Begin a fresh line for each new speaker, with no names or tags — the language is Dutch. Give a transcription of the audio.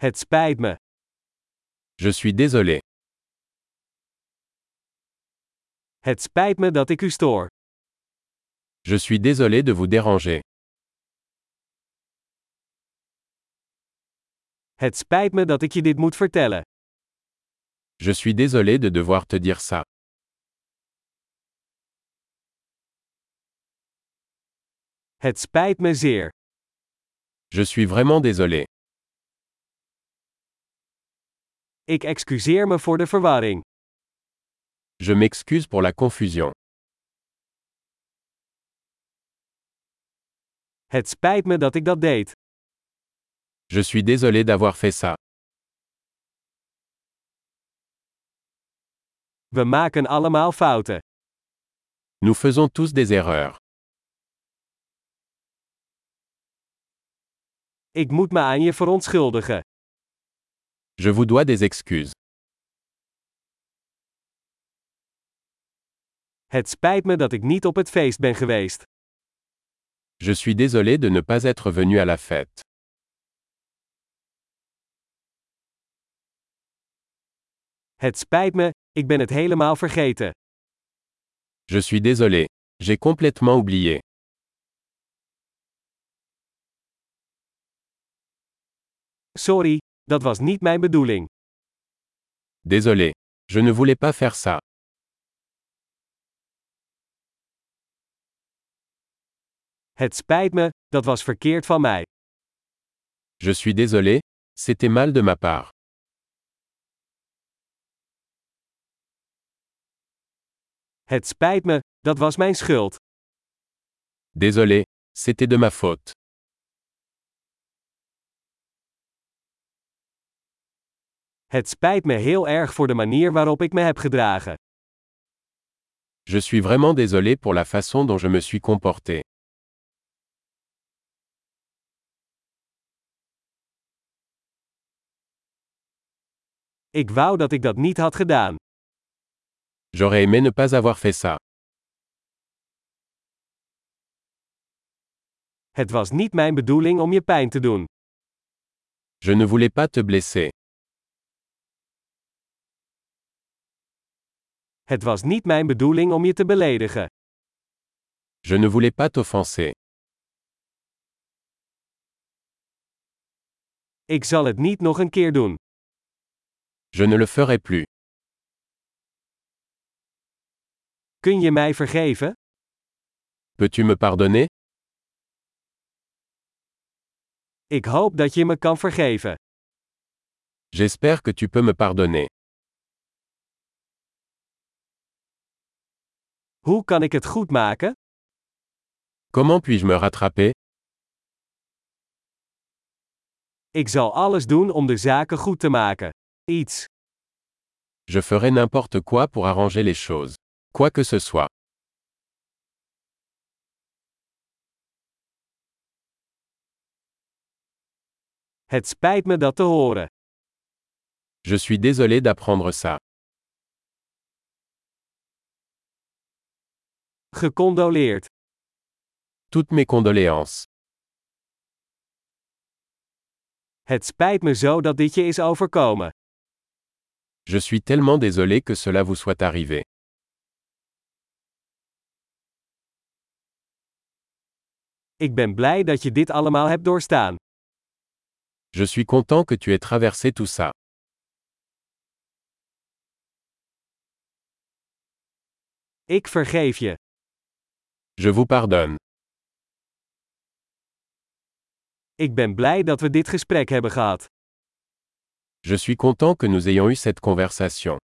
Het spijt me.
Je suis désolé.
Het spijt me dat ik u stoor.
Je suis désolé de vous déranger.
Het spijt me dat ik je dit moet vertellen.
Je suis désolé de devoir te dire ça.
Het spijt me zeer.
Je suis vraiment désolé.
Ik excuseer me voor de verwarring.
Je m'excuse pour la confusion.
Het spijt me dat ik dat deed.
Je suis désolé d'avoir fait ça.
We maken allemaal fouten.
Nous faisons tous des erreurs.
Ik moet me aan je verontschuldigen.
Je vous dois des excuses.
Het spijt me dat ik niet op het feest ben geweest.
Je suis désolé de ne pas être venu à la fête.
Het spijt me, ik ben het helemaal vergeten.
Je suis désolé. J'ai complètement oublié.
Sorry, dat was niet mijn bedoeling.
Désolé. Je ne voulais pas faire ça.
Het spijt me, dat was verkeerd van mij.
Je suis désolé. C'était mal de ma part.
Het spijt me, dat was mijn schuld.
Désolé. C'était de ma faute.
Het spijt me heel erg voor de manier waarop ik me heb gedragen.
Je suis vraiment désolé pour la façon dont je me suis comporté.
Ik wou dat ik dat niet had gedaan.
J'aurais aimé ne pas avoir fait ça.
Het was niet mijn bedoeling om je pijn te doen.
Je ne voulais pas te blesser.
Het was niet mijn bedoeling om je te beledigen.
Je ne voulais pas t'offenser.
Ik zal het niet nog een keer doen.
Je ne le ferai plus.
Kun je mij vergeven?
Peux-tu me pardonner
Ik hoop dat je me kan vergeven.
J'espère que tu peux me pardonner.
Hoe kan ik het goed maken?
Comment puis-je me rattraper
Ik zal alles doen om de zaken goed te maken. Iets.
Je ferai n'importe quoi pour arranger les choses. Quoi que ce soit.
Het spijt me dat te horen.
Je suis désolé d'apprendre ça.
Gecondoleerd.
Toutes mes condoléances.
Het spijt me zo dat dit je is overkomen.
Je suis tellement désolé que cela vous soit arrivé.
Ik ben blij dat je dit allemaal hebt doorstaan.
Je suis content que tu aies traversé tout ça.
Ik vergeef je.
Je vous pardonne.
Ik ben blij dat we dit gesprek hebben gehad.
Je suis content que nous ayons eu cette conversation.